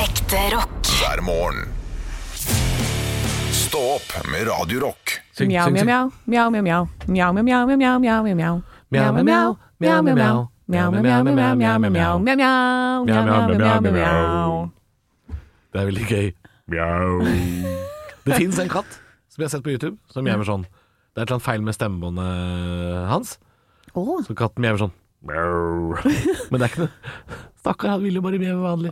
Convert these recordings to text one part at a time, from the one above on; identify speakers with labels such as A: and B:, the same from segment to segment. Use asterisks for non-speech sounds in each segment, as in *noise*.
A: Ekte rock.
B: hver morgen. Stå opp med Radio Rock.
C: Syng,
D: Mjau,
C: syng,
D: mjau,
C: syng.
D: mjau. Mjau, mjau, mjau. Mjau, mjau, mjau, mjau, mjau, mjau, mjau. Mjau, mjau, mjau. Mjau, mjau, mjau. Mjau, mjau, mjau, mjau, mjau, mjau, mjau. Mjau, mjau, mjau, mjau, mjau, mjau, mjau.
C: Det er veldig gøy. *laughs* Det fins en katt som jeg har sett på YouTube, som mjauer sånn. Det er et eller annet feil med stemmebåndet hans,
D: Åh,
C: så katten mjauer sånn. Men det er ikke noe Stakkar, han ville jo bare mjaue vanlig.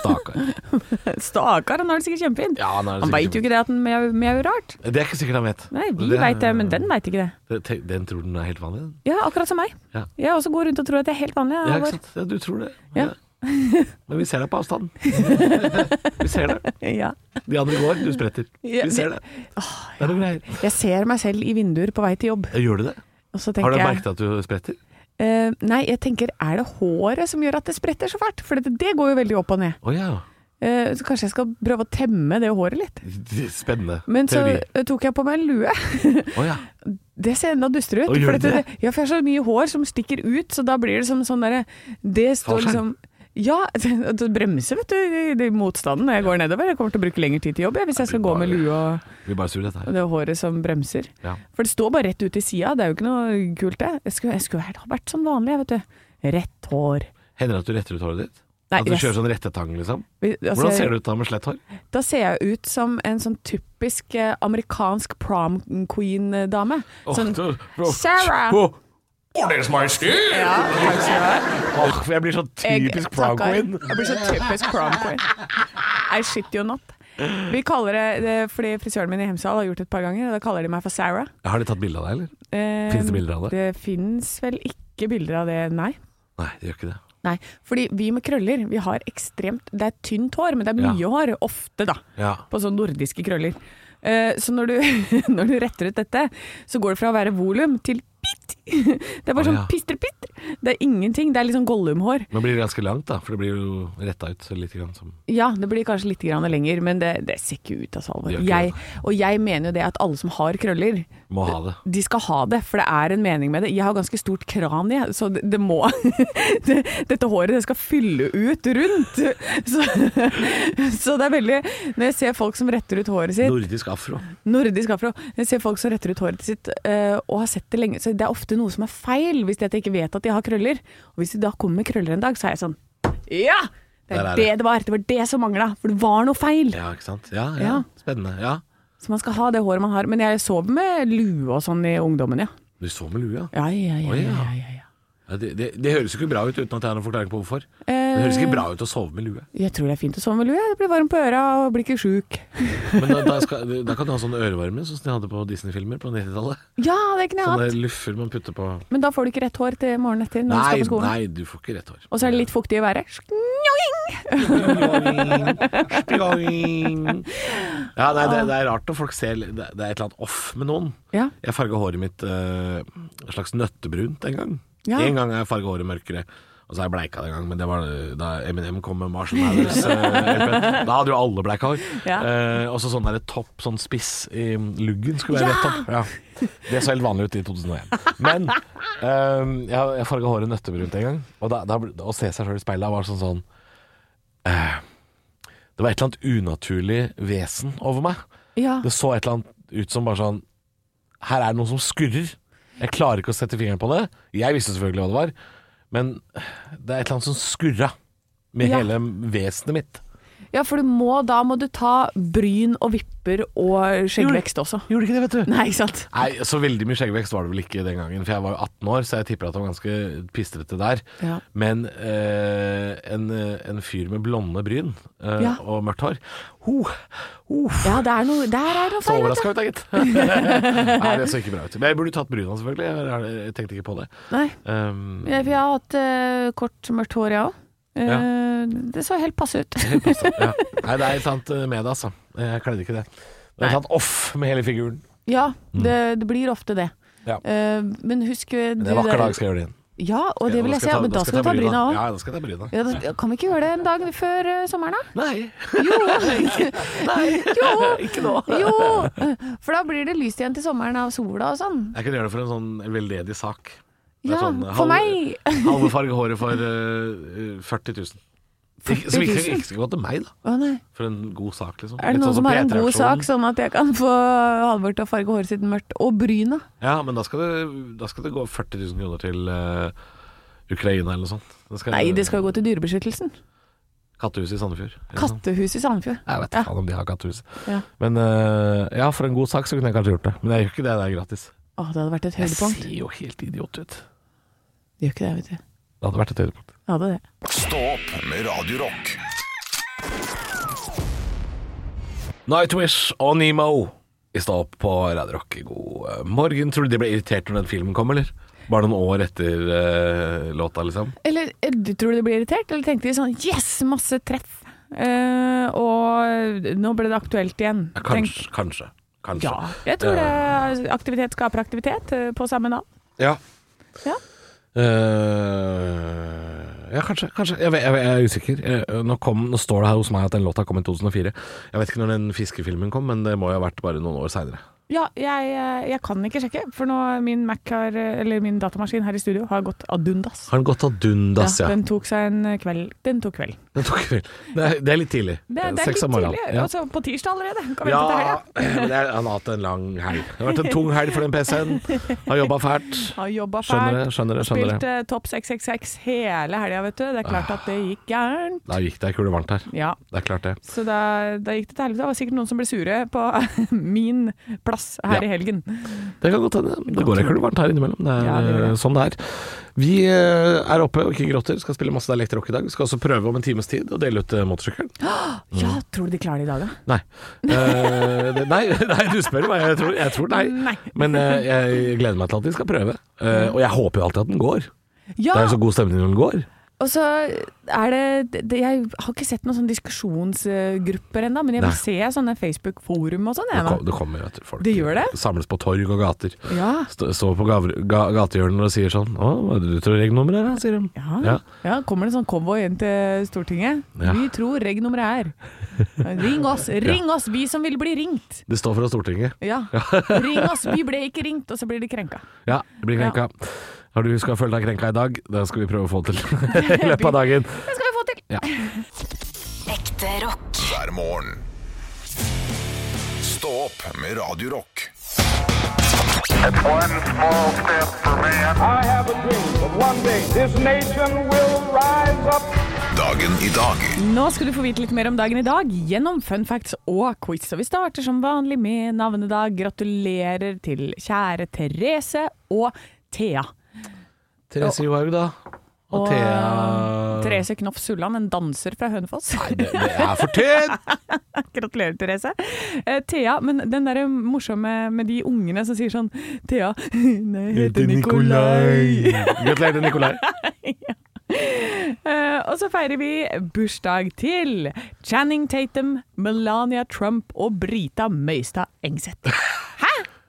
C: Stakkar.
D: Stakkar, han har det sikkert kjempefint.
C: Ja, han er det
D: Han
C: sikkert
D: veit jo ikke det at han mjau- mjauer rart.
C: Det er ikke sikkert han vet.
D: Nei, vi
C: Det er-
D: veit det, men den veit ikke det.
C: Det- te- Den tror den er helt vanlig. den.
D: Ja, akkurat som meg.
C: Ja.
D: Jeg også går rundt og tror at jeg er helt vanlig.
C: Ja,
D: Halvor.
C: ikke sant? Ja, du tror det.
D: Ja.
C: Men vi ser deg på
D: *laughs*
C: avstand. Vi ser det.
D: Ja.
C: De andre går, du spretter.
D: Ja,
C: Vi ser det. Det er noe greier.
D: Jeg ser meg selv i vinduer på vei til jobb,
C: Gjør du det?
D: og så
C: Har
D: tenker
C: du
D: jeg
C: merket at du spretter?
D: eh, Nei, jeg tenker er det håret som gjør at det spretter så fælt? For det, det går jo veldig opp og ned.
C: Å ja.
D: Eh, så kanskje jeg skal prøve å temme det håret litt.
C: Spennende
D: Men så
C: teori.
D: eh, tok jeg på meg en lue.
C: Å ja.
D: Det ser enda dustere ut.
C: Å, gjør
D: for dette-
C: det?
D: ja, for jeg har så mye hår som stikker ut, så da blir det som sånn derre Det står
C: Fallskjerm?
D: liksom Ja, *laughs* det bremser, vet du, i- i motstanden når jeg går nedover. Jeg kommer til å bruke lengre tid til jobb jeg, hvis jeg skal gå med lue og
C: Vi bare sur dette her.
D: det håret som bremser.
C: Ja.
D: For det står bare rett ut i sida, det er jo ikke noe kult det. Jeg skulle, jeg skulle vært- ha vært som vanlig, jeg, vet du. Rett hår.
C: Hender det at du retter ut håret ditt?
D: Nei,
C: at du
D: jeg-
C: kjører sånn rettetang, liksom?
D: Vi- altså,
C: Hvordan ser du ut da med slett hår?
D: Da ser jeg ut som en sånn typisk eh, amerikansk prom queen-dame. Sånn Sarah!
C: Åh,
B: Ordens majestet!
D: Ja, takk skal du ha.
C: åh, jeg blir sånn
D: Jeg-
C: typisk
D: takker.
C: proud queen.
D: Jeg blir så typisk prom queen. I shit you not. Vi kaller det, det fordi frisøren min i Hemsedal har gjort det et par ganger, og da kaller de meg for Sarah.
C: Har de tatt bilde av deg, eller?
D: Eh,
C: Finnes det bilder av det?
D: Det fins vel ikke bilder av det, nei.
C: Nei, de gjør ikke det.
D: Nei, fordi vi med krøller, vi har ekstremt Det er tynt hår, men det er
C: Ja.
D: mye hår. Ofte, da.
C: Ja.
D: På sånne nordiske krøller. Eh, Så når du, *laughs* når du retter ut dette, så går det fra å være volum til pitt. *laughs* Det er bare
C: Å,
D: sånn
C: ja.
D: pister-pitter. Det er ingenting. Det er litt sånn Gollum-hår.
C: Men blir det ganske langt, da? For det blir jo retta ut så lite grann som
D: Ja, det blir kanskje litt grann lenger, men det, det ser ikke ut, altså, Halvor.
C: Det gjør ikke
D: Jeg, og jeg mener jo det at alle som har krøller,
C: Må ha det.
D: de skal ha det, for det er en mening med det. Jeg har ganske stort kran, jeg, så det, det må *laughs* det, Dette håret det skal fylle ut rundt. *laughs* Så, så det er veldig Når jeg ser folk som retter ut håret sitt
C: Nordisk afro.
D: Nordisk afro. Jeg ser folk som retter ut håret sitt eh, og har sett det lenge. Så det er ofte noe som er feil hvis de at jeg ikke vet at de har krøller. Og hvis de da kommer med krøller en dag, så er jeg sånn Ja!
C: Der
D: Det er
C: er
D: det
C: det.
D: det var. Det var det som mangla. For det var noe feil.
C: Ja, ikke sant. Ja, ja.
D: Ja.
C: Spennende. Ja.
D: Så man skal ha det håret man har. Men jeg sov med lue og sånn i ungdommen, ja.
C: Du så med lua.
D: Ja, ja, ja.
C: Oi,
D: ja,
C: ja.
D: ja, ja, ja.
C: Ja, det, det, det høres jo ikke bra ut uten at jeg har noen forklaring på hvorfor. Det høres
D: Eh.
C: ikke bra ut å sove med lue.
D: Jeg tror det er fint å sove med lue. Det blir varmt på øra og blir ikke sjuk.
C: Men da, da, skal, da kan du ha sånne ørevarme sånn som de hadde på Disney-filmer på 90-tallet.
D: Ja, det kunne jeg
C: Sånne
D: hatt.
C: luffer man putter på
D: Men da får du ikke rett hår til morgenen etter når du
C: Nei,
D: skal på skolen.
C: nei, du får ikke rett hår.
D: Og så er det litt fuktig i været. Sknjoing!
C: Ja, nei,
D: *laughs*
C: det, det er rart når folk ser Det, det er et eller annet off med noen.
D: Ja.
C: Jeg farga håret mitt eh, en slags nøttebrunt en gang.
D: Ja.
C: En gang har jeg farga håret mørkere. Og så har jeg bleika det en gang, men det var da Eminem kom med Marshall Mathers.
D: *laughs*
C: eh, da hadde jo alle bleika hår.
D: Ja.
C: Eh, og så sånn derre topp, sånn spiss i luggen skulle være
D: Ja!
C: rett opp. Ja. Det så helt vanlig ut i 2001. Men eh, jeg, jeg farga håret nøttebrunt en gang, og da, da, å se seg sjøl i speilet var sånn sånn eh, Det var et eller annet unaturlig vesen over meg.
D: Ja.
C: Det så et eller annet ut som bare sånn Her er det noe som skurrer. Jeg klarer ikke å sette fingeren på det. Jeg visste selvfølgelig hva det var, men det er et eller annet som skurra med
D: Ja.
C: hele vesenet mitt.
D: Ja, for du må, da må du ta bryn og vipper og skjeggvekst også. *laughs*
C: Gjorde ikke det, vet du.
D: Nei, ikke sant?
C: Nei, så veldig mye skjeggvekst var det vel ikke den gangen, for jeg var jo 18 år, så jeg tipper at det var ganske pistrete der.
D: Ja.
C: Men eh, en, en fyr med blonde bryn eh,
D: Ja.
C: og mørkt hår Ho! Uff.
D: Ja, det er noe, der er noe
C: Så
D: feil. vet
C: overraska
D: du.
C: ut, da, gitt. *laughs* Nei, det så ikke bra ut. Men jeg burde tatt bryna, selvfølgelig. Jeg har- Jeg tenkte ikke på det.
D: Nei,
C: Um,
D: *laughs* jeg, for jeg har hatt eh, kort, mørkt hår, jeg òg. Det så helt passe ut. *laughs*
C: helt passe. ja. Nei, det er et eller annet med det, altså. Jeg kledde ikke det. Det er et eller annet off med hele figuren.
D: Ja, det, det blir ofte det.
C: Ja.
D: Eh, men husk eh,
C: Men
D: du
C: en vakker
D: der-
C: dag skal jeg gjøre det igjen.
D: Ja, og det
C: Ja,
D: vil jeg se. Men da skal du ta bryna òg.
C: Ja, da skal jeg ta bryna.
D: Ja, da- ja, kan vi ikke gjøre det en dag før eh, sommeren, *laughs* da?
C: Nei.
D: *laughs* Jo! ikke nå. Jo! Eh, For da blir det lyst igjen til sommeren av sola og sånn.
C: Jeg kan gjøre det for en sånn veldedig
D: *laughs*
C: sak. Det er
D: Ja,
C: sånn, eh,
D: for
C: halv-
D: meg.
C: Halve farge håret for eh, 40 000. Ikke- eh, Som
D: 40
C: ikke,
D: 000?
C: ikke skal gå til meg, da.
D: Å nei.
C: For en god sak, liksom.
D: Er det
C: Litt
D: noen
C: sånn
D: som har en god
C: P3-aksjonen.
D: sak, sånn at jeg kan få Halvor til å farge håret sitt mørkt? Og bryna.
C: Ja, men da skal, det, da skal det gå 40 000 kroner til eh, Ukraina eller noe sånt. Det skal,
D: Nei, det skal jo gå til Dyrebeskyttelsen.
C: Kattehuset i Sandefjord. eller noe sånt.
D: Kattehus i Sandefjord.
C: Jeg vet
D: Ja.
C: ikke faen om de har kattehus.
D: Ja.
C: Men eh, ja, for en god sak så kunne jeg kanskje gjort det. Men jeg gjør ikke det, det er gratis.
D: Å, det hadde vært et
C: Jeg
D: høydepunkt.
C: ser jo helt idiot ut.
D: Det gjør ikke det, vet du.
C: Det hadde vært et høydepunkt.
D: Jeg hadde det.
B: Stå opp med Radio Rock.
C: Nightwish og Nemo i stå opp på Radio Rock. God eh, morgen. Tror du de ble irritert når den filmen kom, eller? Bare noen år etter eh, låta, liksom?
D: Eller eh, du tror du blir irritert, eller tenkte de sånn yes, masse treff. Eh, og nå ble det aktuelt igjen.
C: Ja,
D: Tenk-
C: kanskje, kanskje. Kanskje.
D: Ja, jeg tror det er aktivitet skaper aktivitet eh, på samme navn.
C: Ja.
D: Ja.
C: Eh, ja, kanskje. kanskje. Jeg, vet, jeg, vet, jeg er usikker. Eh, nå, kom, nå står det her hos meg at den låta kom i 2004. Jeg vet ikke når den fiskefilmen kom, men det må jo ha vært bare noen år seinere.
D: Ja, jeg, eh, jeg kan ikke sjekke, for nå min Mac har, eh, eller min datamaskin her i studio har gått ad undas.
C: Har den gått ad undas, ja?
D: Den tok seg en eh, kveld. Den tok kveld.
C: Den tok vel. Det, er, det er litt tidlig.
D: Det, det er litt
C: Seks om morgenen.
D: tidlig,
C: Ja.
D: altså på tirsdag allerede. Kan vente
C: Ja,
D: til helga.
C: men det er, han har hatt en lang helg. Det har vært en tung helg for den PC-en. Har jobba fælt.
D: Har jobba
C: Skjønner
D: fælt.
C: det, skjønner det, skjønner det.
D: Spilte Topp 666 hele helga, vet du. Det er klart at det gikk gærent.
C: Da gikk det ei kule varmt her.
D: Ja.
C: Det er klart, det.
D: Så da, da gikk det til helvete. Det var sikkert noen som ble sure på *laughs* min plass her
C: Ja. Mm.
D: i helgen.
C: Det kan godt hende. Det går ei kule varmt her innimellom. Det er
D: Ja, det gjør det.
C: eh, sånn det er. Vi eh, er oppe og ikke gråter. Skal spille masse dialekter rock i dag. Vi skal også prøve om en times tid å dele ut eh, motorsykkelen.
D: Ja, tror du de klarer det i dag, da?
C: Nei. Eh, det, nei. *laughs* Nei, du spør meg. Jeg tror, jeg tror nei.
D: Nei.
C: Men eh, jeg gleder meg til at vi skal prøve. Eh, og jeg håper jo alltid at den går. Det
D: Ja,
C: er jo så god stemning når den går.
D: og så er det, det Jeg har ikke sett noen sånne diskusjonsgrupper ennå, men jeg vil se sånne Facebook-forum og sånn.
C: Det,
D: jeg,
C: kom,
D: da.
C: det kommer vet du, folk.
D: Det gjør det?
C: Samles på torg og gater.
D: Ja.
C: Stå- Står på gavr- ga, gatehjørner og sier sånn Å, hva er det du tror regnnummeret er, da? sier de.
D: Ja.
C: Ja.
D: ja, kommer det en sånn konvoi inn til Stortinget?
C: Ja.
D: Vi tror regnummeret er Ring
C: *laughs*
D: oss, ring oss, vi som vil bli ringt!
C: Det står fra Stortinget.
D: Ja.
C: *laughs*
D: Ring oss, vi ble ikke ringt, og så blir de krenka.
C: Ja, det blir krenka. Har du skal føle deg krenka i dag? Det skal vi prøve å få til *laughs* i løpet av dagen.
D: Det skal vi få til!
A: Ekte rock.
B: hver morgen. Stå opp med Radio Rock.
E: One small step for man.
F: I have a dream that one day this nation will rise up.
B: Dagen i dag.
D: Nå skal du få vite litt mer om dagen i dag gjennom fun facts og quiz. Og vi starter som vanlig med navnedag. Gratulerer til kjære Therese og Thea.
C: Therese Johaug, da. Og, eh, Thea
D: Og- Therese Knoff Sulland, en danser fra Hønefoss.
C: Det, det er for *laughs* tynt!
D: Gratulerer, Therese. Eh, Thea, men den derre morsomme med de ungene som sier sånn Thea, *laughs* nei, jeg heter Nikolai.
C: Gratulerer til Nikolai.
D: Eh, og så feirer vi bursdag til Channing Tatum, Melania Trump og Brita Møystad Engseth.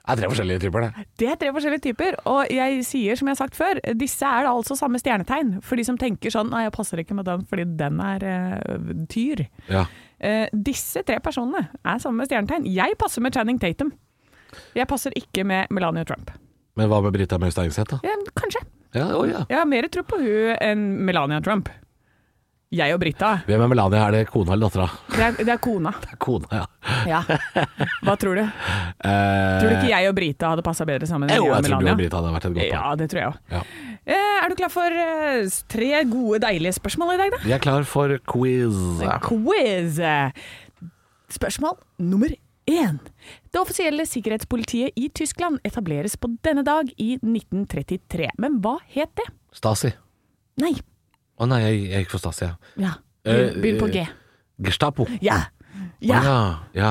C: Det er tre forskjellige typer, det.
D: Det er tre forskjellige typer, og jeg sier som jeg har sagt før, disse er da altså samme stjernetegn. For de som tenker sånn nei, jeg passer ikke med den fordi den er eh, tyr.
C: Ja.
D: Eh, disse tre personene er samme stjernetegn. Jeg passer med Channing Tatum. Jeg passer ikke med Melania Trump.
C: Men hva med Brita Møystad Engseth, da?
D: Eh, kanskje.
C: Ja, å ja.
D: Jeg har mer tro på hun enn Melania Trump. Jeg og Brita.
C: Hvem er Melania? Er det kona eller dattera? *laughs*
D: Det er, det er kona.
C: Det er kona, ja.
D: Ja. Hva tror du? Tror du ikke jeg og Brita hadde passa bedre sammen? enn
C: Eh, Jo,
D: og
C: jeg tror du
D: Melania?
C: og Brita hadde vært et godt par.
D: Ja, det tror jeg òg.
C: Ja.
D: Er du klar for eh, tre gode, deilige spørsmål i dag, da?
C: Vi er klar for quiz.
D: Quiz! Spørsmål nummer én. Det offisielle sikkerhetspolitiet i Tyskland etableres på denne dag i 1933. Men hva het det?
C: Stasi.
D: Nei.
C: Å nei, jeg, jeg gikk for Stasi, ja.
D: Ja. Begynn begynn på G.
C: Gestapo.
D: Ja.
C: Eh, Ja.
D: Ja.
C: ja.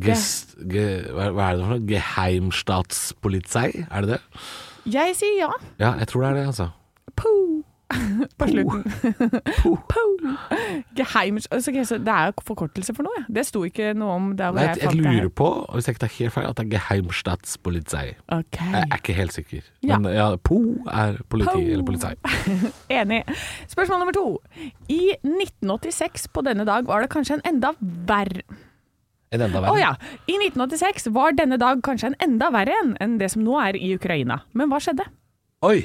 C: Gest, ge, hva hva er det for noe? Geheimstatspolizei? Er det det?
D: Jeg sier ja.
C: Ja, jeg tror det er det, altså.
D: Po. *laughs* På slutten. *laughs* Po. Geheims... Altså, ok, så det er jo forkortelse for noe, ja. Det sto ikke noe om der hvor
C: Nei,
D: jeg,
C: jeg
D: fant det
C: lurer
D: her.
C: på, hvis jeg ikke tar helt feil, at det er Geheimstatspolizei.
D: Ok.
C: Jeg er ikke helt sikker.
D: Ja.
C: Men ja, Po er politi
D: Po.
C: eller polizei.
D: Enig. Spørsmål nummer to. I 1986 på denne dag var det kanskje en enda verre
C: En enda
D: Å
C: verre.
D: ja. I 1986 var denne dag kanskje en enda verre en enn det som nå er i Ukraina. Men hva skjedde? Mhm.
C: Oi!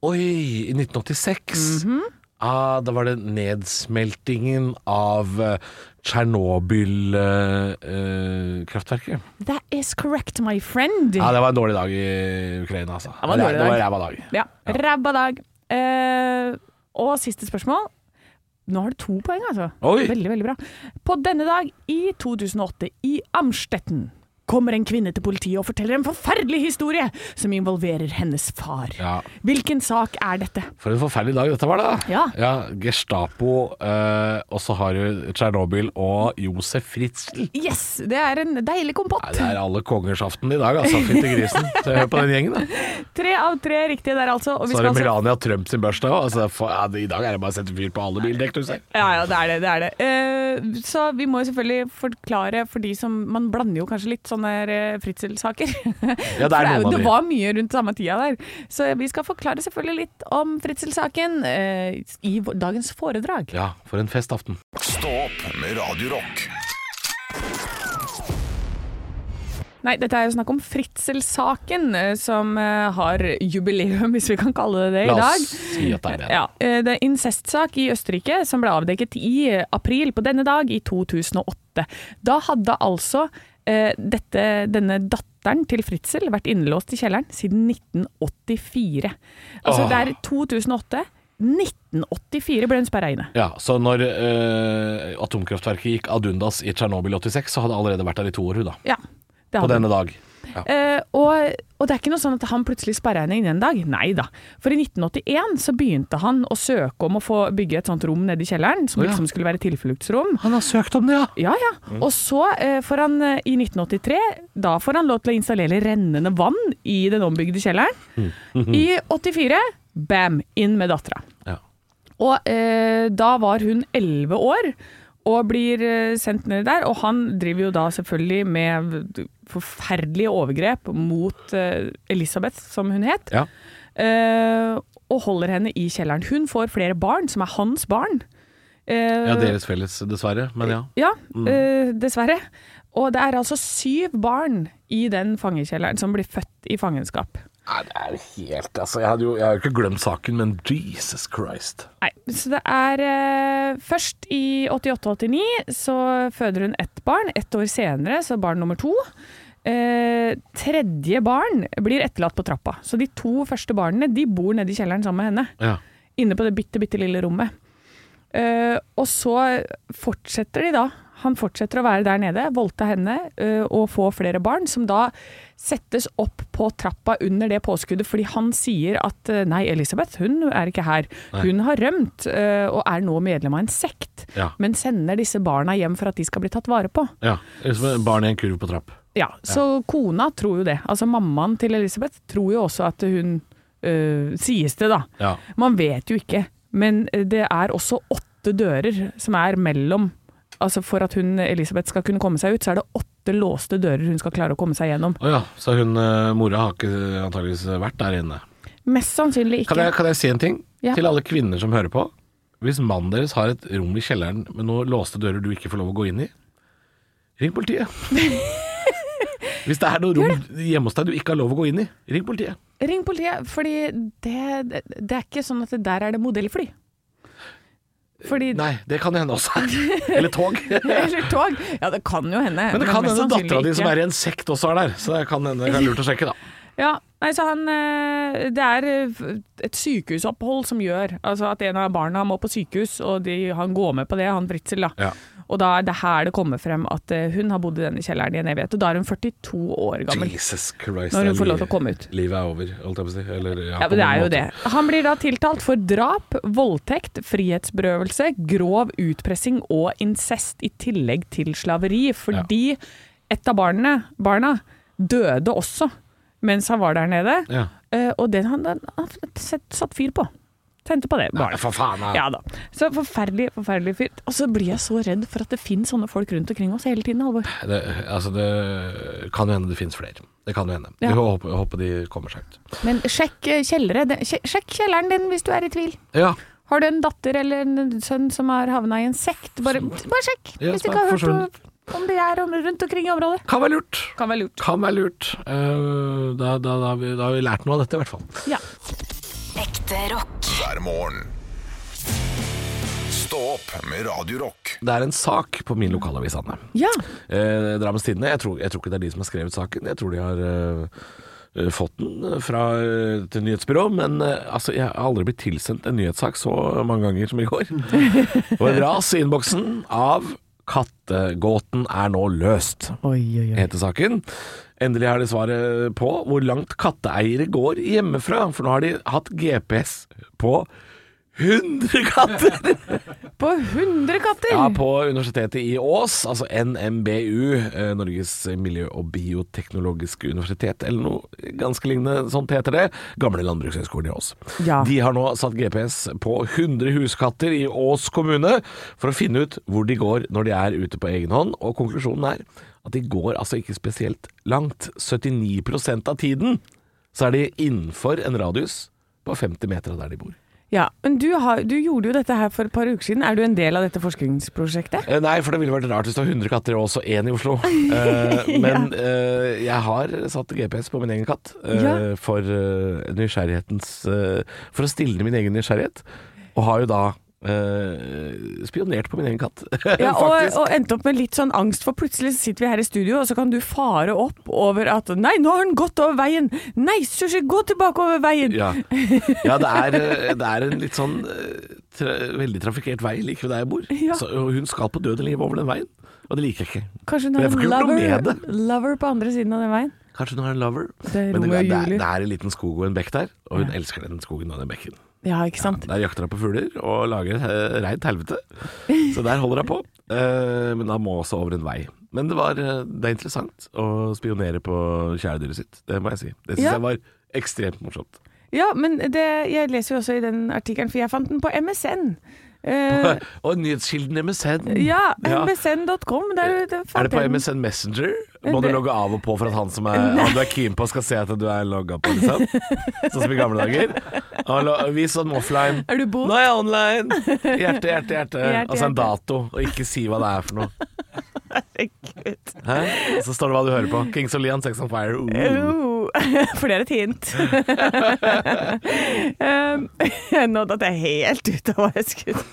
C: Oi, i 1986. ah, da var det nedsmeltingen av eh, Tsjernobyl-kraftverket.
D: That is correct, my friend.
C: eh, ja, det var en dårlig dag i Ukraina, altså.
D: Det var en
C: det
D: dårlig
C: var
D: dag.
C: ræva dag.
D: Ja. Ræbba dag. Eh, og siste spørsmål. Nå har du to poeng, altså.
C: Oi.
D: Veldig, veldig bra. På denne dag i 2008 i Amstetten kommer en kvinne til politiet og forteller en forferdelig historie som involverer hennes far.
C: Ja.
D: Hvilken sak er dette?
C: For en forferdelig dag dette var, da.
D: Ja.
C: Gestapo, eh, og så har du Tsjernobyl og Josef Fritzl.
D: Yes, det er en deilig kompott.
C: Nei, det er alle kongers aften i dag, altså.
D: *laughs*
C: Fytti grisen. Så hør på den gjengen, da.
D: Tre av tre riktige der, altså. Og vi
C: Så er
D: skal
C: det
D: altså
C: Melania Trump sin bursdag òg. Altså, for- ja, I dag er det bare å sette fyr på alle bildekk, du ser.
D: Ja, ja, det er det. det, er det. Eh, så vi må jo selvfølgelig forklare for de som Man blander jo kanskje litt sånne eh, *laughs* Fritzel-saker.
C: Ja, det
D: For
C: er
D: jo-
C: noen av
D: det
C: de.
D: var mye rundt samme tida der. Så vi skal forklare selvfølgelig litt om Fritzel-saken eh, i vår- dagens foredrag.
C: Ja, for en festaften.
B: Stå opp med Radio Rock.
D: Nei, dette er jo snakk om Fritzel-saken, eh, som eh, har jubileum, *laughs* hvis vi kan kalle det det, i
C: La
D: dag.
C: oss si at det er det.
D: Ja, eh, det er incestsak i Østerrike som ble avdekket i eh, april på denne dag i 2008. Da hadde altså eh, dette, denne datteren til Fritzel vært innelåst i kjelleren siden 1984. Altså
C: Åh.
D: det er 2008. 1984 ble hun sperra inne.
C: Ja, så når eh, atomkraftverket gikk ad undas i Tsjernobyl 86, så hadde det allerede vært der i to år, hun da.
D: Ja, det
C: På
D: hadde hun.
C: denne dag. Ja.
D: Eh, og, og det er ikke noe sånn at han plutselig sperra henne inne en dag. Nei da. For i 1981 så begynte han å søke om å få bygge et sånt rom nede i kjelleren, som
C: Å, ja.
D: liksom skulle være tilfluktsrom.
C: Han har søkt om det, ja.
D: Ja, ja.
C: Mm.
D: Og så eh, får han eh, i 1983 Da får han lov til å installere rennende vann i den ombygde kjelleren.
C: Mm.
D: I 84 bam, inn med dattera.
C: Ja.
D: Og eh, da var hun 11 år og blir eh, sendt ned der. Og han driver jo da selvfølgelig med forferdelige overgrep mot eh, Elisabeth, som hun het.
C: Ja.
D: Eh, og holder henne i kjelleren. Hun får flere barn, som er hans barn. Eh,
C: ja, deres felles, dessverre. Men ja.
D: ja, eh, dessverre. Og det er altså syv barn i den fangekjelleren som blir født i fangenskap.
C: Nei, det er helt Altså, jeg hadde jo jeg har jo ikke glemt saken, men Jesus Christ.
D: Nei, så det er eh, Først i 88-89 så føder hun ett barn. Ett år senere så barn nummer to. Eh, tredje barn blir etterlatt på trappa. Så de to første barna de bor nede i kjelleren sammen med henne.
C: Ja.
D: Inne på det bitte, bitte lille rommet. Eh, og så fortsetter de da. Han fortsetter å være der nede, voldta henne eh, og få flere barn, som da settes opp på trappa under det påskuddet, fordi han sier at eh, nei, Elisabeth, hun er ikke her. Hun har rømt eh, og er nå medlem av en sekt,
C: Ja.
D: men sender disse barna hjem for at de skal bli tatt vare på.
C: ja. Det er Som et barn i en kurv på trapp.
D: Ja, så kona tror jo det. Altså mammaen til Elisabeth tror jo også at hun øh, Sies det, da.
C: Ja.
D: Man vet jo ikke. Men øh, det er også åtte dører som er mellom Altså for at hun Elisabeth skal kunne komme seg ut, så er det åtte låste dører hun skal klare å komme seg gjennom.
C: Å ja, så hun eh, mora har ikke antageligvis vært der inne.
D: Mest sannsynlig ikke.
C: Kan jeg, kan jeg si en ting
D: Ja.
C: til alle kvinner som hører på? Hvis mannen deres har et rom i kjelleren med noen låste dører du ikke får lov å gå inn i, ring *laughs* politiet. Hvis det er noe rom hjemme hos deg du ikke har lov å gå inn i, ring politiet.
D: Ring politiet, fordi det, det, det er ikke sånn at det der er det modellfly. Fordi
C: Nei, det kan hende også. Eller tog. *laughs* Men
D: *laughs* Eller tog. Ja, det kan jo hende.
C: det kan hende
D: mest sannsynlig
C: dattera di som
D: ikke.
C: er i en sekt også er der, så det kan hende det er lurt å sjekke, da.
D: Ja, nei, så han eh, Det er eh, et sykehusopphold som gjør altså at en av barna må på sykehus, og de, han går med på det, han Fritzel, da.
C: Ja.
D: Og da er det her det kommer frem at eh, hun har bodd i denne kjelleren i en evighet. Og da er hun 42 år gammel.
C: Jesus Christ.
D: Når hun
C: det er
D: får lov til
C: liv-
D: å komme ut.
C: Livet er over, holdt jeg på å si. Eller,
D: Ja,
C: på
D: men det
C: noen
D: er jo
C: måte.
D: det. Han blir da tiltalt for drap, voldtekt, frihetsberøvelse, grov utpressing og incest, i tillegg til slaveri. Fordi et av barna, barna døde også mens han var der nede.
C: Ja.
D: Eh, og den han, den, han set, satt fyr på. Tente på det.
C: Nei,
D: Barnet.
C: for faen, da.
D: Ja da. Så forferdelig, forferdelig fyr. Og så blir jeg så redd for at det finnes sånne folk rundt omkring oss hele tiden, Halvor.
C: Det, altså det kan jo hende det finnes flere. Det kan jo hende.
D: Ja.
C: Jeg håper, jeg håper de kommer seg ut.
D: Men sjekk eh, kjellere. Den- sje- Sjekk kjelleren din hvis du er i tvil.
C: Ja,
D: Har du en datter eller en sønn som har havna i en sekt, bare, bare sjekk
C: Ja,
D: hvis du ikke har hørt
C: forsvunnet.
D: om- om de er om- rundt omkring i området.
C: kan være lurt.
D: Kan være lurt.
C: Kan være lurt. Eh, da, da, da, har vi, da har vi lært noe av dette, i hvert fall.
D: Ja.
A: Ekte rock.
B: hver morgen. Stå opp med Radio Rock.
C: Det er en sak på min lokalavis, Anne.
D: Ja.
C: Eh, Drammens Tidende. Jeg tror, jeg tror ikke det er de som har skrevet saken. Jeg tror de har eh, eh, fått den fra eh, til nyhetsbyrå. Men eh, altså, jeg har aldri blitt tilsendt en nyhetssak så mange ganger som i
D: *laughs*
C: går. Og et ras i innboksen av 'Kattegåten er nå løst',
D: Oi, oi, oi.
C: heter saken. Endelig har de svaret på hvor langt katteeiere går hjemmefra. For nå har de hatt GPS på 100 katter!
D: På 100 katter!
C: Ja, på Universitetet i Ås, altså NMBU, eh, Norges miljø- og bioteknologiske universitet, eller noe ganske lignende, sånt heter det. Gamle landbrukshøgskolen i Ås.
D: Ja.
C: De har nå satt GPS på 100 huskatter i Ås kommune for å finne ut hvor de går når de er ute på egen hånd, og konklusjonen er at de går altså ikke spesielt langt. 79 av tiden så er de innenfor en radius på 50 meter av der de bor.
D: Ja, men du, har, du gjorde jo dette her for et par uker siden. Er du en del av dette forskningsprosjektet?
C: Eh, Nei, for det ville vært rart hvis det var 100 katter og også én i
D: *laughs*
C: Oslo. Eh, men eh, jeg har satt GPS på min egen katt eh,
D: Ja.
C: for eh, nysgjerrighetens eh, For å stilne min egen nysgjerrighet. Og har jo da eh, spionert på min egen katt, *laughs*
D: Ja, og,
C: faktisk.
D: og endte opp med litt sånn angst, for plutselig sitter vi her i studio, og så kan du fare opp over at 'nei, nå har den gått over veien', 'nei, sushi, gå tilbake over veien'.
C: Ja, ja det, er, eh, det er en litt sånn eh, tra veldig trafikkert vei like ved der jeg bor.
D: Ja.
C: Så, og hun skal på død og liv over den veien, og det liker jeg ikke.
D: Kanskje
C: Men
D: hun har
C: jeg får
D: en
C: ikke gjort noe med
D: lover,
C: det.
D: lover på andre siden av den veien.
C: Kanskje hun har en lover.
D: Det er
C: men det,
D: Romeo og
C: det, er,
D: Julie.
C: det er en liten skog og en bekk der, og hun elsker den skogen og den bekken.
D: Ja, ikke sant.
C: Der jakter hun på fugler og lager et eh, reint helvete. Så der holder hun på. Eh, men han må også over en vei. Men det, var, eh, det er interessant å spionere på kjæledyret sitt. Det må jeg si. Det syns
D: Ja.
C: jeg var ekstremt morsomt.
D: Ja, men det, jeg leser jo også i den artikkelen, for jeg fant den på MSN. Eh,
C: *laughs* og nyhetskilden MSN.
D: ja,
C: *laughs* Ja.
D: msn.com. Der, der fant
C: Er det på
D: jeg den.
C: MSN Messenger? Må du
D: Det-
C: logge av og på for at han som er, han du er keen på, skal se at du er logga på, liksom? Sånn som i gamle dager. Hallo, vis sånn offline.
D: Er du bot?
C: Nå er jeg online! Hjerte, hjerte, hjerte.
D: Hjerte,
C: Altså en
D: hjerte.
C: dato, og ikke si hva det er for noe.
D: Eh, Herregud.
C: Hæ? Og så står det hva du hører på. Kings of Leon, Sex on Fire. Uh.
D: Oh, *laughs* for det er et
C: *laughs*
D: hint. *laughs* um, *laughs* nå datt jeg helt ut av hva jeg skulle
C: Det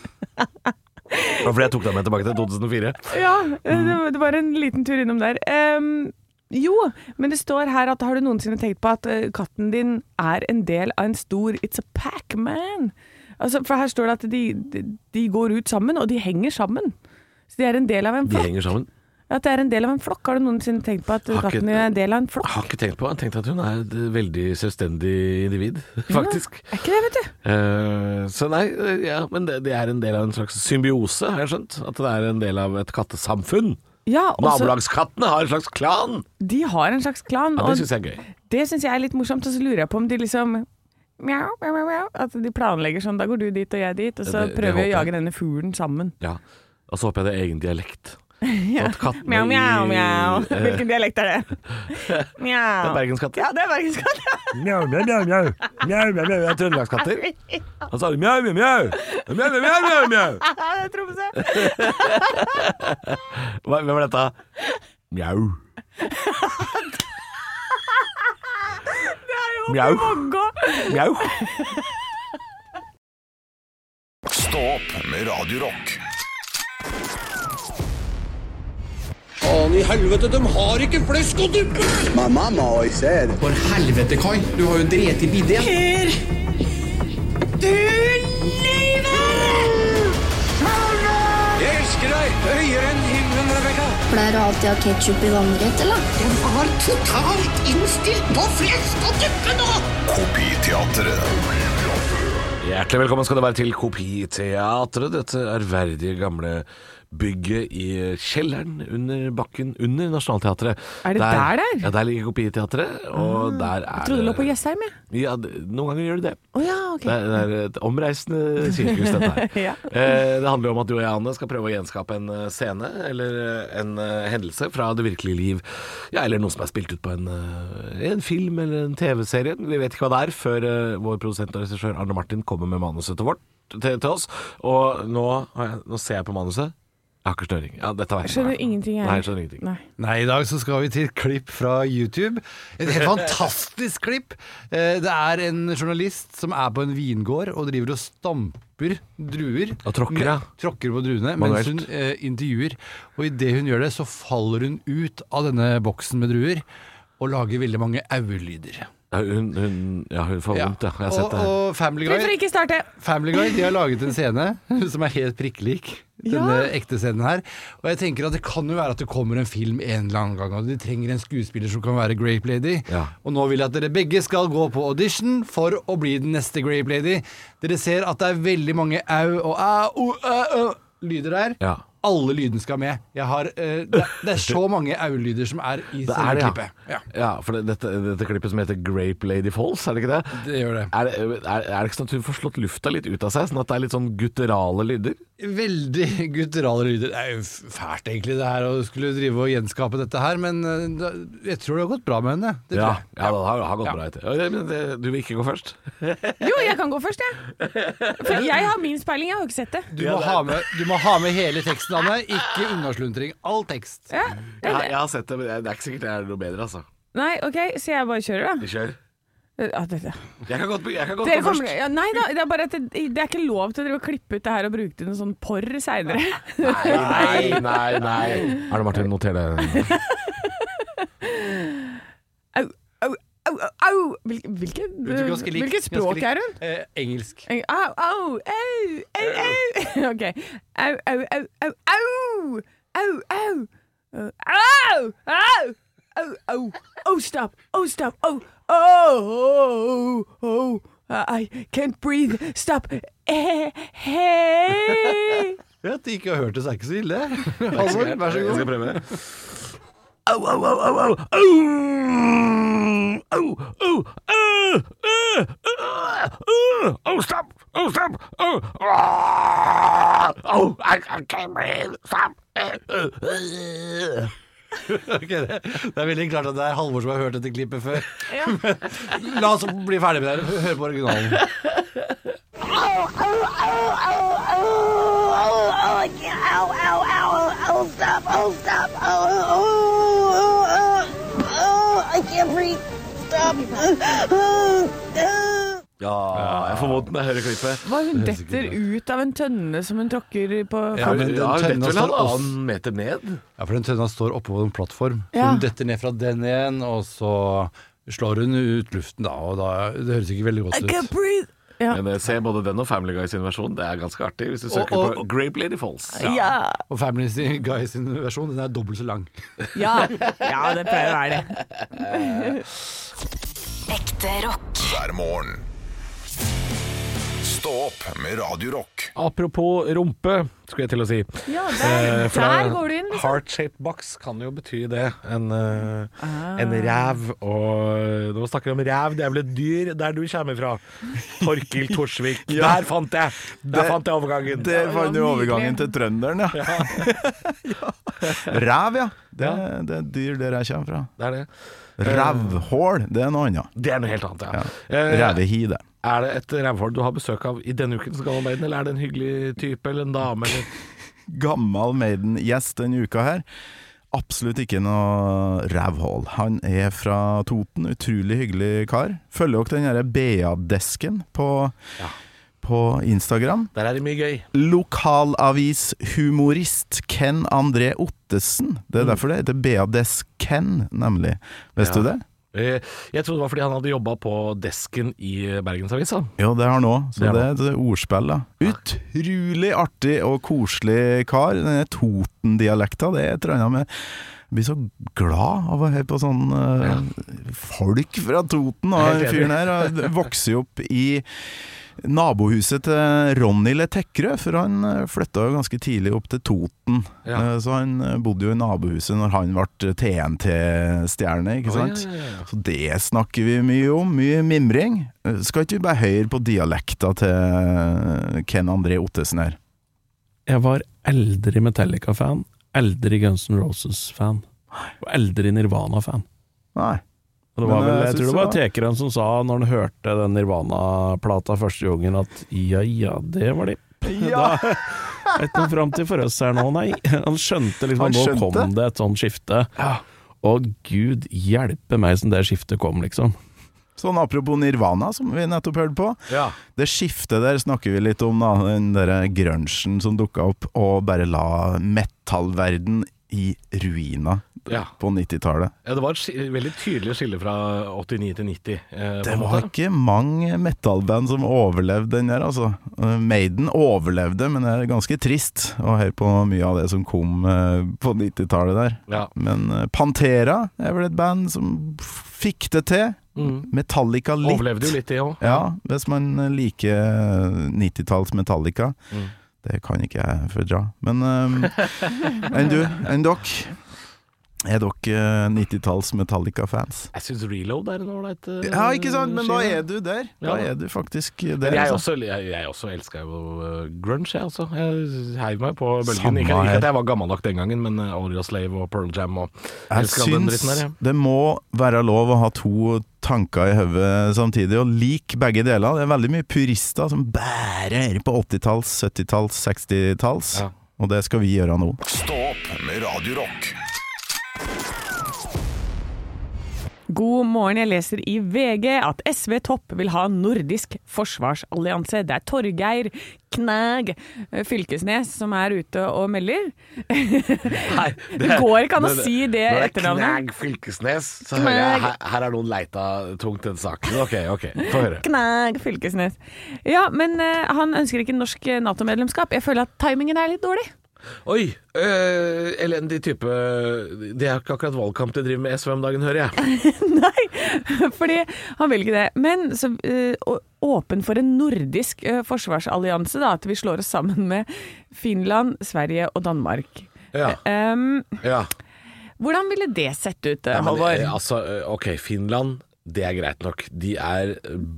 C: var fordi jeg tok deg med tilbake til 2004.
D: Ja, eh, det var- det var en liten tur innom der. Um, jo, men det står her at har du noensinne tenkt på at eh, katten din er en del av en stor It's a Pac-Man? Altså, for her står det at de, de, de går ut sammen, og de henger sammen. Så de er en del av en
C: De
D: flokk.
C: henger sammen.
D: At det er en del av en flokk. Har du noensinne tenkt på at eh,
C: Har ikke-
D: katten din er en del av en
C: Jeg
D: flokk?
C: har ikke tenkt på Jeg har tenkt at hun er et veldig selvstendig individ, *laughs* faktisk.
D: Er ikke det, vet du.
C: Eh, så nei, eh, ja, men det, det er en del av en slags symbiose, har jeg skjønt. At det er en del av et kattesamfunn.
D: Ja, og så-
C: Nabolagskattene har en slags klan!
D: De har en slags klan,
C: Ja,
D: og
C: det syns jeg er gøy.
D: det syns jeg er litt morsomt. Og så lurer jeg på om de liksom mjau, mjau, mjau, mjau, At de planlegger sånn, da går du dit og jeg dit, og så
C: Det- det
D: prøver vi å
C: håper jeg.
D: jage denne fuglen sammen.
C: Ja. Og så håper jeg det er egen *laughs* dialekt. Og at kattene
D: Mjau, mjau,
C: *laughs*
D: mjau.
C: i eh,
D: Hvilken dialekt
C: *laughs*
D: er det?
C: Det
D: Mjau.
C: er bergenskatter.
D: Ja, det er bergenskatt.
C: Mjau, mjau, mjau, mjau. Mjau, mjau, mjau. Det er Trøndelagskatter. Han sa det mjau, mjau, mjau. Mjau, mjau, mjau, mjau, mjau.
D: *laughs* Ja, det er Tromsø.
C: Hva- Hvem var dette? Mjau.
D: Det er jo
C: Mjau.
D: oppe i Vågå.
C: Mjau.
B: Stå opp med Radio Rock.
G: Faen i helvete, de har ikke flesk og duppe!
H: My mama always said,
G: For helvete, Kai. Du har jo drept i bidé. Jeg elsker deg høyere enn himmelen, Rebekka.
I: Pleier du alltid å ha ketsjup i vannrett, eller?
G: De var totalt innstilt på flesk og duppe nå!
B: Kopiteatret.
C: Hjertelig velkommen skal det være til Kopiteatret, dette ærverdige gamle bygget i kjelleren under bakken under Nationaltheatret.
D: Er det der det er?
C: Ja, der ligger Kopiteatret, og der er
D: Trodde det lå på Jessheim, jeg.
C: Ja, d- noen ganger gjør det det.
D: Å ja, ok.
C: Det er, det er et omreisende sirkus, dette her.
D: *laughs* Ja.
C: eh, det handler jo om at du og jeg, Anne, skal prøve å gjenskape en eh, scene eller eh, en eh, hendelse fra det virkelige liv. Ja, eller noe som er spilt ut på en, eh, i en film eller en TV-serie. Vi vet ikke hva det er før eh, vår produsent og regissør Arne Martin kommer med manuset til vårt til, til oss. Og nå, har jeg, nå ser jeg på manuset. Jeg har ikke snøring. Ja, dette vet jeg.
D: Skjønner ingenting, jeg.
C: Nei, jeg skjønner ingenting.
D: Nei.
J: Nei, i dag så skal vi til et klipp fra YouTube. Et
C: *laughs*
J: helt fantastisk klipp. Eh, Det er en journalist som er på en vingård og driver og stamper druer.
C: Og tråkker, ja.
J: Med- Tråkker på druene
C: Manuelt.
J: mens hun eh, intervjuer. Og idet hun gjør det, så faller hun ut av denne boksen med druer og lager veldig mange au-lyder.
C: Ja, hun, hun, ja, hun får vondt, ja. Jeg har
J: Og,
C: sett det. her.
J: og Family
D: Hvorfor
J: Guy,
D: ikke starte?
J: Family Guy de har laget en scene *laughs* som er helt prikklik. Denne ekte scenen her. Og jeg tenker at det kan jo være at det kommer en film en eller annen gang, og de trenger en skuespiller som kan være Grape Lady.
C: Ja.
J: Og nå vil jeg at dere begge skal gå på audition for å bli den neste Grape Lady. Dere ser at det er veldig mange au og au, au, au, lyder der.
C: Ja.
J: Alle lydene skal med. Jeg har, eh, det, det er så mange au-lyder som er i
C: Det er
J: selve
C: det, ja.
J: klippet.
C: ja. for det, dette, dette klippet som heter Grape Lady Falls, er det ikke det?
J: Det gjør det.
C: Er, er, er det ikke sånn at hun får slått lufta litt ut av seg, sånn at det er litt sånn gutterale lyder?
J: Veldig *laughs* gutturale lyder. Det er jo f- fælt egentlig det her å skulle drive og gjenskape dette her, men eh, da- jeg tror det har gått bra med henne. Det
C: Ja,
J: tror jeg.
C: ja det har, har gått
J: Ja.
C: bra. etter. Ja, men det- Du vil ikke gå først?
D: Jo, jeg kan gå
C: *laughs*
D: først, jeg. For jeg har min speiling, jeg har jo ikke sett det.
J: Du, må ha med, du må ha med hele teksten, Anne. Ikke unnaslundring. All tekst.
D: Ja.
C: Jeg, har- jeg har sett det, men det er ikke sikkert det er noe bedre, altså.
D: Nei, OK, så jeg bare kjører,
C: Vi kjører.
D: da. Ja, dette.
C: Jeg kan godt, be- jeg kan godt
D: Dere
C: gå
D: kommer,
C: først.
D: ja, nei da, det er bare at det, det er ikke lov til å drive og klippe ut det her og bruke det til noe sånn porr seinere.
C: Nei, nei, nei. Er det Martin, noter det.
D: *laughs* Au, au, au, au, au! Hvilke, hvilke,
J: Ganske lik.
D: hvilket språk
J: Ganske lik.
D: er hun?
J: Eh, engelsk.
D: Au, au, au, au, *laughs* au! OK. Au, au, au, au, au! Au, au! Au, au! Au, au, au! Oh, stop! Oh, stop! Oh, oh, oh, oh! I can't breathe! Stop! *laughs* Eh, Hey!
J: Ja, At de ikke har hørt det, så er det ikke *laughs* så ille. Halvor, vær så
C: Jeg skal
J: god.
C: prøve. Au, au, au, au, au, au! Au, au, au, au, au, au! Au, stopp! Au, stopp! Au! Ah! Au, I I can't breathe! Stopp!
J: *laughs* Ok, det, det er veldig klart at det er Halvor som har hørt dette klippet før. Men *laughs* la oss bli ferdig med det her. Hør på originalen.
C: Ja, jeg får vondt når jeg hører klippet.
D: Hva, hun detter ut av en tønne som hun tråkker på
J: Ja, men den
C: Ja,
J: tønna
C: dette vil
J: står
C: ha en
J: også-
C: annen meter ned.
J: Ja, for den tønna står oppe på en plattform. Så
D: Ja.
J: Hun detter ned fra den igjen, og så slår hun ut luften, da. Og da det høres ikke veldig
D: I
J: godt
D: can't
J: ut.
D: breathe! Ja.
C: *laughs* Men eh, se både den og Family Guy sin versjon. Det er ganske artig hvis du søker
J: og-
C: på Grape Lady Falls.
D: Ja.
J: Og Family Guy sin versjon den er dobbelt så lang.
D: Ja. ja, det pleier å være det.
A: Ekte rock.
B: hver morgen. Stå opp med Radio Rock.
C: Apropos rumpe, skulle jeg til å si.
D: Ja, der,
C: Eh, for
D: der
C: da-
D: går du inn, liksom.
C: Heart-shaped box kan jo bety det. En, eh,
D: Ah.
C: en ræv. Og når man snakker om ræv, det er vel et dyr der du kommer fra. Torkil *laughs* Torsvik. Der fant jeg! Der fant jeg overgangen.
K: Der fant du
D: nydelig.
K: overgangen til trønderen, ja. *laughs* ja. Ræv, ja. Det, det er dyr der jeg kommer fra.
C: Det er det.
K: Rævhål, det er noe annet.
C: Det er noe helt annet, ja.
K: Ja.
C: Eh,
K: Rævehide.
C: er det et rævhål du har besøk av i denne ukens Gallamøyden, eller er det en hyggelig type eller en dame? Eller?
K: Gammel Maiden-gjest denne uka her. Absolutt ikke noe rævhål. Han er fra Toten, utrolig hyggelig kar. Følger dere den derre BA-desken på, på Instagram?
C: Der er det mye gøy.
K: Lokalavishumorist Ken André Ottesen. Det er derfor det heter BA-desk-Ken, nemlig. Visste du det?
C: Eh, Jeg trodde det var fordi han hadde jobba på desken i Bergensavisa.
K: Jo, det har han òg,
C: Det
K: så
C: har
K: eh, det er et ordspill, da. Utrolig artig og koselig kar. Denne Toten-dialekta, det er et eller annet med Jeg blir så glad av å høre på sånn eh, folk fra Toten. Og
C: Helt
K: den
C: enig.
K: fyren her og vokser jo opp i nabohuset til Ronny Le Tekrø, for han eh, flytta jo ganske tidlig opp til Toten.
C: Ja.
K: Eh, Så han eh, bodde jo i nabohuset når han ble TNT-stjerne, ikke sant?
C: ja, ja, ja.
K: Så det snakker vi mye om, mye mimring. Eh, Skal ikke vi bare høre på dialekta til Ken André Ottesen her?
G: Jeg var eldre Metallica-fan, eldre Guns N' Roses-fan, og eldre Nirvana-fan.
K: Nei.
G: Og det
K: Men,
G: var vel,
K: eh,
G: jeg
K: synes
G: tror det
K: det
G: var
K: var-
G: tekeren som sa, når han hørte den Nirvana-plata første gangen, at ja ja, det var de.
K: Ja.
G: *laughs* Da, Vet du fram til for oss her nå, nei. Han skjønte liksom
K: Han
G: at nå
K: skjønte?
G: kom det et sånt skifte. Og gud hjelpe meg som det skiftet kom, liksom.
K: Sånn apropos Nirvana, som vi nettopp hørte på. Det skiftet der snakker vi litt om, da. Den derre grunchen som dukka opp og bare la metallverden i ruina
C: Ja.
K: på 90-tallet.
C: Ja, det var et sk- veldig tydelig skille fra 89 til 90. eh, på
K: Det
C: en
K: var
C: måte.
K: ikke mange metallband som overlevde den der, altså. Eh, Maiden overlevde, men det er ganske trist å høre på mye av det som kom eh, på 90-tallet der.
C: Ja.
K: Men eh, Pantera er vel et band som fikk det til.
C: Mm.
K: Metallica litt.
C: Overlevde jo litt, det òg.
K: Ja, hvis man liker 90-talls Metallica.
C: Mm.
K: Det kan ikke jeg fordra.
C: *laughs*
K: Men um, enn du, enn dere? Er dere eh, 90-talls Metallica-fans?
C: Jeg syns Reload er en ålreit eh,
K: Ja, ikke sant, men da
C: skive.
K: er du der.
C: Ja,
K: Da
C: da.
K: er du faktisk der.
C: Men jeg, også,
K: altså.
C: jeg, jeg også elska jo eh, grunge, jeg også. Jeg heiv meg på bølgen.
K: Samme
C: Ikke, ikke
K: her.
C: at jeg var gammel nok den gangen, men uh, Audio Slave og Pearl Jam og
K: Jeg
C: elsker all den
K: syns
C: dritten der, ja.
K: det må være lov å ha to tanker i hodet samtidig, og like begge deler. Det er veldig mye purister som bare hører på 80-talls, 70-talls, 60-talls,
C: Ja.
K: og det skal vi gjøre nå.
B: Stå opp med Radio Rock.
D: God morgen, jeg leser i VG at SV Topp vil ha nordisk forsvarsallianse. Det er Torgeir Knæg Fylkesnes som er ute og melder. *laughs*
C: Nei,
D: Det går ikke an å si det
C: når er
D: etternavnet.
C: Knag Fylkesnes, så hører jeg her, her er noen leita tungt til den saken. Ok, ok, få høre.
D: Knæg Fylkesnes. Ja, men eh, han ønsker ikke norsk eh, Nato-medlemskap. Jeg føler at timingen er litt dårlig.
C: Oi, øh, elendig type Det er ikke akkurat valgkamp de driver med SV om dagen, hører jeg.
D: *laughs* Nei, fordi han vil ikke det. Men så eh, å- åpen for en nordisk eh, forsvarsallianse, da. At vi slår oss sammen med Finland, Sverige og Danmark.
C: Ja,
D: Um,
C: ja.
D: hvordan ville det sett ut,
C: Nei, men,
D: Halvor?
C: eh, altså, eh, ok, Finland det er greit nok. De er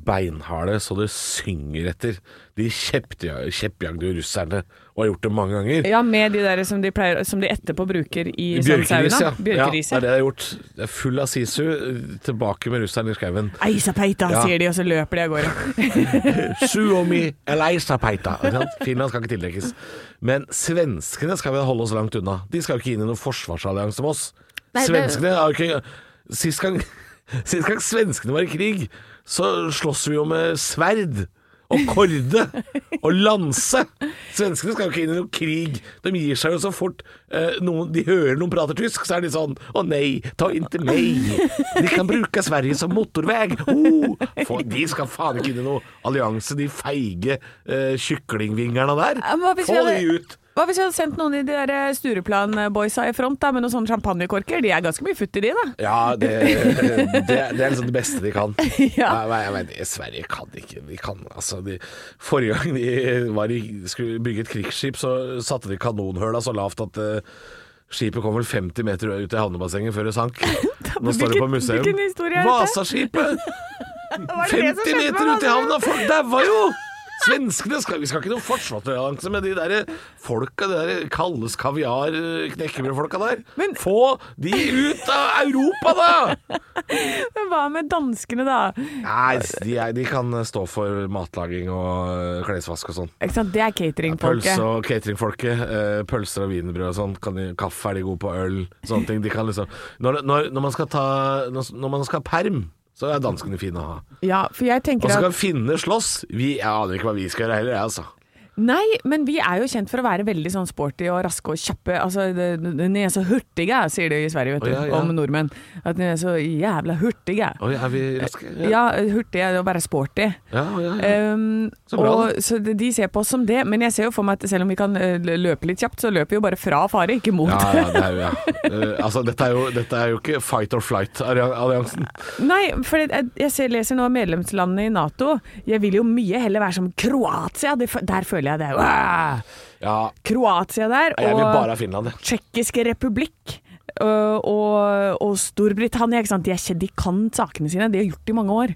C: beinharde så det synger etter. De kjeppja- kjeppjagde jo russerne og har gjort det mange ganger.
D: Ja, med de der som de, pleier, som de etterpå bruker i sånn
C: Bjørkeris, ja.
D: sauna.
C: ja. Det
D: Bjørkeris,
C: er det de har gjort. Det er full av sisu. eh, Tilbake med russerne i skauen.
D: Eisapeita,
C: Ja.
D: sier de, og så løper de av gårde.
C: Suomi eleisapeita. Ikke sant? Finland skal ikke tildekkes. Men svenskene skal vi holde oss langt unna. De skal jo ikke inn i noen forsvarsallianse med oss.
D: Nei, det-
C: Svenskene har jo ikke Sist gang, *laughs* sist gang svenskene var i krig, så slåss vi jo med sverd. Og korde og lanse. Svenskene skal jo ikke inn i noen krig. De gir seg jo så fort eh, noen, de hører noen prater tysk, så er de sånn Å nei, ta inntil meg. De kan bruke Sverige som motorvei. Oh, for, de skal faen ikke inn i noen allianse, de feige eh, kyklingvingerne der.
D: Ja, men hva hvis vi
C: Få de
D: hadde-
C: ut.
D: Hva hvis vi hadde sendt noen i de der eh, Stureplan-boysa i front da, med noen sånne champagnekorker? De er ganske mye futt i de, da.
C: Ja, det, det, det er liksom det beste de kan.
D: *laughs* Ja.
C: Nei, nei, jeg mener, Sverige kan ikke de kan, altså, de, Forrige gang de var i, skulle bygge et krigsskip, så satte de kanonhøla så lavt at eh, skipet kom vel 50 meter ut i havnebassenget før det
D: *laughs*
C: sank. Nå står det på
D: Hvilken-
C: museum.
D: hvilken historie er dette? *laughs*
C: Vasaskipet!
D: Hva er det som
C: 50
D: skjedde
C: meter ut
D: med
C: i
D: Vassøya?
C: havna! Folk daua jo! Svenskene skal, Vi skal ikke noe forsvarsallianse med de der folka, de der kalles kaviar-knekkebrødfolka der.
D: Men-
C: Få de ut av Europa, da!
D: Men hva med danskene, da?
C: Nei, de, er, de kan eh, stå for matlaging og øh, klesvask og sånn.
D: Ikke sant, Det er
C: Pølse
D: cateringfolket.
C: og cateringfolket. øh, Pølser og wienerbrød og sånn. Kan de, kaffe er de gode på, øl, sånne ting. De kan liksom Når, når, når man skal ta når, når man skal ha perm, så er danskene fine å ha.
D: Ja, for jeg
C: Og
D: tenker
C: så
D: at
C: kan finne slåss. Vi, jeg aner ikke hva vi skal gjøre heller, jeg, altså.
D: Nei, men vi er jo kjent for å være veldig sånn sporty og raske og kjappe. Altså, det- det- den er så hurtige, sier de i Sverige, vet du,
C: Å, ja, ja.
D: om nordmenn. At den er så jævla hurtige.
C: Oi, er vi raske?
D: Ja, hurtige og bare sporty.
C: ja, ja, ja.
D: Um,
C: Så bra,
D: og, så de- de ser på oss som det, men jeg ser jo for meg at selv om vi kan eh, løpe litt kjapt, så løper vi jo bare fra fare, ikke mot.
C: Ja, ja, det er jo, ja. Eh, altså, dette er, jo, dette er jo ikke fight or flight-alliansen.
D: *laughs* Nei, for jeg, jeg ser, leser nå medlemslandene i Nato. Jeg vil jo mye heller være som Kroatia. Det, fø- der føler jeg det. Wow!
C: Ja,
D: Kroatia der,
C: jeg vil bare
D: og
C: ha Finland, jeg.
D: Tsjekkiske republikk. øh, Og, og Storbritannia, ikke sant. De, er, kje- de kan sakene sine, de har gjort det i mange år.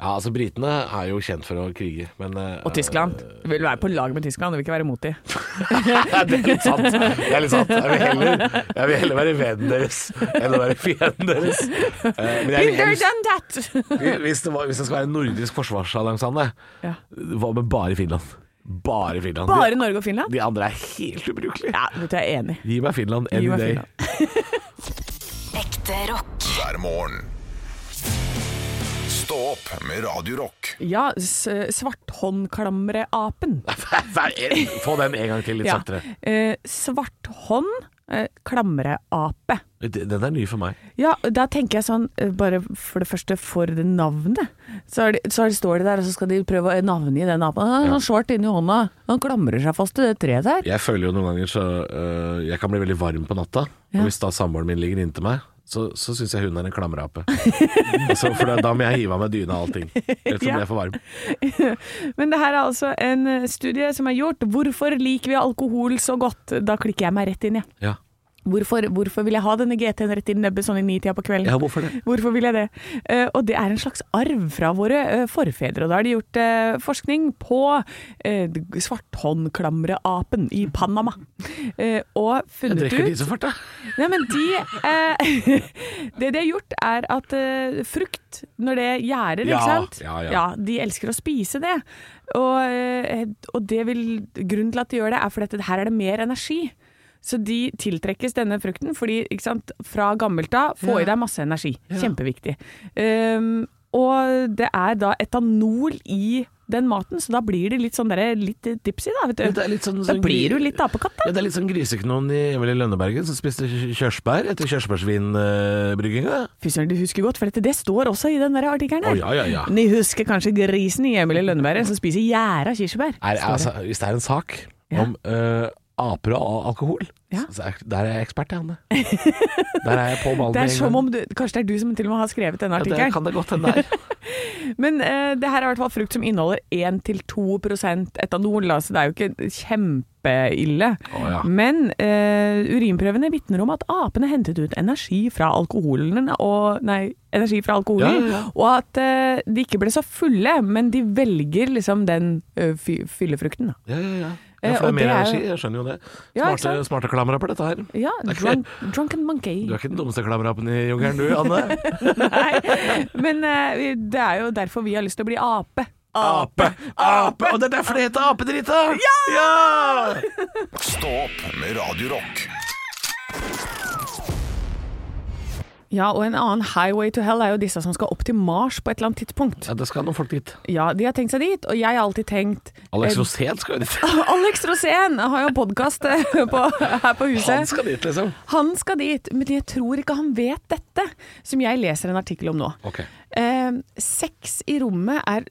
C: Ja, altså, britene er jo kjent for å krige, men eh, *laughs*
D: Og Tyskland. Du Øh. vil være på lag med Tyskland, du vil ikke være imot de.
C: Nei, det er litt sant. Det er litt sant. Jeg vil heller, jeg vil heller være vennen deres enn å være fienden deres. Eh, men jeg,
D: Been there,
C: jeg,
D: done that! *laughs*
C: hvis, det var, hvis det skal være en nordisk forsvarsallianse, Anne,
D: Ja.
C: hva med bare Finland? Bare Finland.
D: Bare Norge og Finland?
C: De andre er helt ubrukelige.
D: Ja, vet du, jeg er enig.
C: Gi meg Finland
D: Gi
C: any
D: meg
C: day. *laughs*
D: Finland.
A: Ekte rock.
B: hver morgen. Stå opp med Radio Rock.
D: Ja, s- svarthåndklamreapen.
C: Hver en- Få den en gang til, litt
D: Ja.
C: saktere.
D: Eh, svarthånd eh, klamreape.
C: Den den er ny for meg.
D: Ja, da tenker jeg sånn, eh, bare for det første for det navnet. Så, er det, så er det, står de der, og så skal de prøve å navngi den apen. Han har svart inni hånda, han klamrer seg fast til det treet der.
C: Jeg føler jo noen ganger så øh, Jeg kan bli veldig varm på natta.
D: Ja.
C: Og hvis da samboeren min ligger inntil meg, så, så syns jeg hun er en *laughs* klamreape. altså, for da, da må jeg hive av meg dyna og allting. Ellers så
D: Ja.
C: blir jeg for varm.
D: Men det her er altså en eh, studie som er gjort. Hvorfor liker vi alkohol så godt? Da klikker jeg meg rett inn, jeg.
C: Ja.
D: Hvorfor, hvorfor vil jeg ha denne GT-en rett i nebbet sånn i nitida på kvelden?
C: ja, hvorfor det?
D: *laughs* Hvorfor vil jeg det? Eh, og det er en slags arv fra våre eh, forfedre. Og da har de gjort eh, forskning på eh, svarthåndklamreapen i Panama. Eh, og
C: Jeg
D: funnet
C: drikker de
D: ut
C: så fort, da.
D: Nei, men de eh, *laughs* Det de har gjort, er at eh, frukt, når det gjærer,
C: Ja,
D: ikke sant
C: ja, ja.
D: De elsker å spise det. Og, eh, og det vil, grunnen til at de gjør det, er fordi at her er det mer energi. Så de tiltrekkes denne frukten, fordi ikke sant, fra gammelt av få i deg masse energi. Kjempeviktig. Um, og det er da etanol i den maten, så da blir det litt sånn derre litt dipsy, da. Vet du.
C: Det er litt sånn-
D: da
C: sånn
D: blir du
C: gri-
D: litt apekatt, da.
C: Ja, det er litt sånn griseknoen i Emil i Lønnebergen som spiste kj- kjørsbær etter kjørsbærsvinbrygginga.
D: Fy søren, du husker godt, for dette, det står også i den der artikkelen her.
C: Å, ja, ja, ja.
D: De husker kanskje grisen i Emil i Lønneberget som spiser gjæra kirsebær.
C: Er,
D: står det.
C: altså, hvis det er en sak
D: Ja.
C: om øh, aper og a- alkohol,
D: Ja.
C: så er, der er jeg ekspert, jeg,
D: *laughs*
C: Anne. Der er jeg på ballen.
D: det
C: med en
D: er som
C: gang.
D: om du, Kanskje det er du som til og med har skrevet denne
C: ja, det
D: artikkelen.
C: kan det godt hende der.
D: *laughs* Men eh, det her er i hvert fall frukt som inneholder 1-2 etanol, da, så det er jo ikke kjempeille.
C: Å, ja.
D: Men eh, urinprøvene vitner om at apene hentet ut energi fra alkoholen, og, nei, energi fra alkoholen
C: Ja, ja, ja.
D: og at eh, de ikke ble så fulle, men de velger liksom den eh, fy, fyllefrukten. Da.
C: Ja, ja, ja.
D: Eh,
C: Ja, for det er
D: og
C: mer
D: det er-
C: energi, jeg skjønner jo det.
D: Ja,
C: Smarte,
D: ikke sant?
C: smarte klamra på dette her.
D: Ja,
C: Det er ikke-
D: drunk, drunken monkey.
C: Du er ikke den dummeste klamrapen i jungelen du, Anne.
D: *laughs* Nei, men eh, vi- det er jo derfor vi har lyst til å bli *laughs* ape.
C: Ape! Ape! Og det er derfor det heter apedrita! Ja!
B: Stå opp med Radio Rock.
D: Ja, og en annen highway to hell er jo disse som skal opp til Mars på et eller annet tidspunkt.
C: ja! Det skal noen folk dit.
D: Ja, de har tenkt seg dit, og jeg har alltid tenkt
C: Alex
D: eh,
C: Rosén skal jo dit.
D: *laughs* Alex Rosén har jo podkast her *laughs* på huset.
C: Han skal dit, liksom.
D: Han skal dit, men jeg tror ikke han vet dette, som jeg leser en artikkel om nå.
C: Ok.
D: Eh, sex i rommet er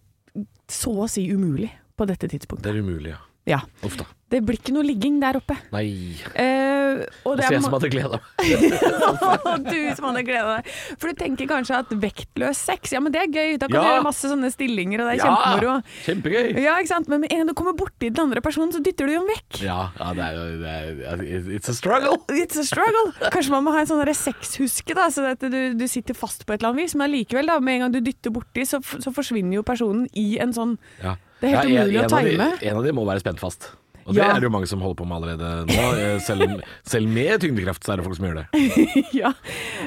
D: så å si umulig på dette tidspunktet.
C: Det er umulig, ja.
D: Ja.
C: Uff da.
D: Det blir ikke noe ligging der oppe.
C: Nei.
D: Eh, og det
C: Altså,
D: er
C: jeg
D: ma-
C: som hadde gleda meg.
D: Å, du som hadde gleda deg. For du tenker kanskje at vektløs sex, ja men det er gøy. Da kan
C: Ja.
D: du gjøre masse sånne stillinger, og det er kjempemoro.
C: Kjempegøy.
D: Ja, ikke sant? Men med en gang du kommer borti den andre personen, så dytter du dem vekk.
C: Ja, ja det er jo det er, It's a struggle.
D: It's a struggle. Kanskje man må ha en sånn derre sexhuske, da, så at du, du sitter fast på et eller annet vis. Men allikevel, da, med en gang du dytter borti, så, f- så forsvinner jo personen i en sånn
C: Ja.
D: Det er helt
C: en-
D: umulig
C: en
D: å
C: av de-
D: time.
C: En av de må være spent fast. Og det
D: Ja.
C: er det jo mange som holder på med allerede nå. Eh, Selv, selv med tyngdekraft så er det folk som gjør det.
D: *laughs* ja.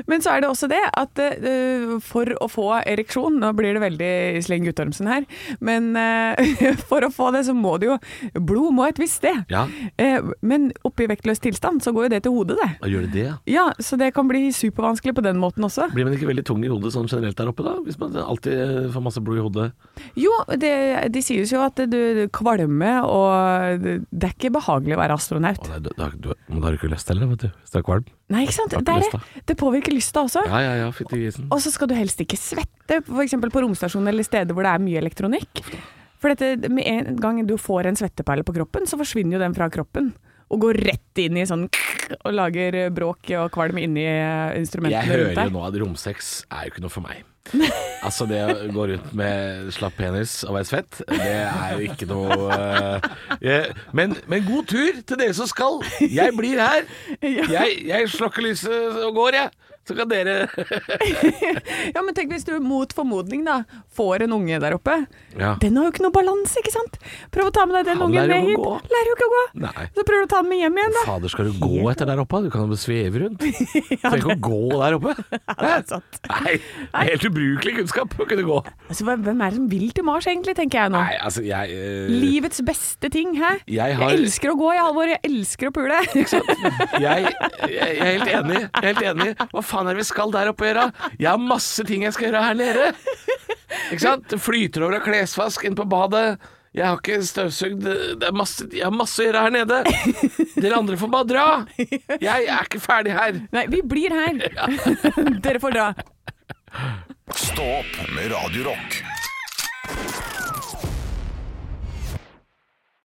D: Men så er det også det at eh, for å få ereksjon Nå blir det veldig Sleng Guttormsen her, men eh, *laughs* for å få det så må det jo Blod må et visst sted.
C: Ja.
D: Eh, men oppe i vektløs tilstand så går jo det til hodet, det.
C: Og gjør de det, ja?
D: Ja, Så det kan bli supervanskelig på den måten også.
C: Blir man ikke veldig tung i hodet sånn generelt der oppe, da? Hvis man alltid eh, får masse blod i hodet?
D: Jo, det, de sies jo at du du kvalmer, og det det er ikke behagelig å være astronaut.
C: Å, nei, du, du, har- du, men da har du ikke lyst heller, vet du. Hvis du er kvalm.
D: Nei, ikke sant?
C: Har ikke
D: Det, er
C: lyst,
D: det. det påvirker lysta også.
C: Ja, ja, ja, fytti grisen.
D: Og så skal du helst ikke svette, f.eks. på romstasjoner eller steder hvor det er mye elektronikk. For dette, med en gang du får en svetteperle på kroppen, så forsvinner jo den fra kroppen. Og går rett inn i sånn og lager eh, bråk og kvalm inni eh,
C: Jeg
D: instrumentene
C: hører
D: rundt
C: jo
D: deg.
C: nå at romsex er jo ikke noe for
D: *laughs*
C: meg. Altså det å gå rundt med slapp penis og være svett, det er jo ikke noe eh, jeg- men, men god tur til dere som skal! Jeg blir her!
D: *laughs* Ja.
C: Jeg, jeg slokker lyset og går, jeg. Så kan
D: *laughs*
C: dere
D: ja, men tenk hvis du mot formodning da får en unge der oppe.
C: Ja.
D: Den har jo ikke noe balanse, ikke sant? Prøv å ta med deg den
C: Han
D: ungen
C: lærer jo
D: ned hit.
C: å gå.
D: Lærer jo ikke å gå.
C: Nei.
D: Så prøver du å ta den med hjem igjen, da.
C: Fader, skal du gå etter der oppe? Du kan jo bare sveve
D: *laughs*
C: rundt. Du trenger ikke å gå der oppe.
D: Ja, det er sant.
C: Nei, det er helt ubrukelig kunnskap å kunne gå.
D: Altså, hva- hvem er det som vil til Mars egentlig, tenker jeg nå.
C: Nei, altså, jeg eh,
D: Livets beste ting, hæ?
C: Jeg har-
D: elsker å gå, jeg, Halvor. Jeg elsker å pule.
C: jeg, jeg, jeg er helt enig. Jeg er helt enig. Hva faen er det vi skal der oppe gjøre? Jeg har masse ting jeg skal gjøre her nede. Ikke sant? Det flyter over av klesvask inn på badet. Jeg har ikke støvsugd det er masse, Jeg har masse å gjøre her nede. Dere andre får bare dra. Jeg er ikke ferdig her.
D: *laughs* Nei, vi
C: *laughs*
D: blir her. *laughs* Dere får dra.
B: Stå opp med Radio Rock.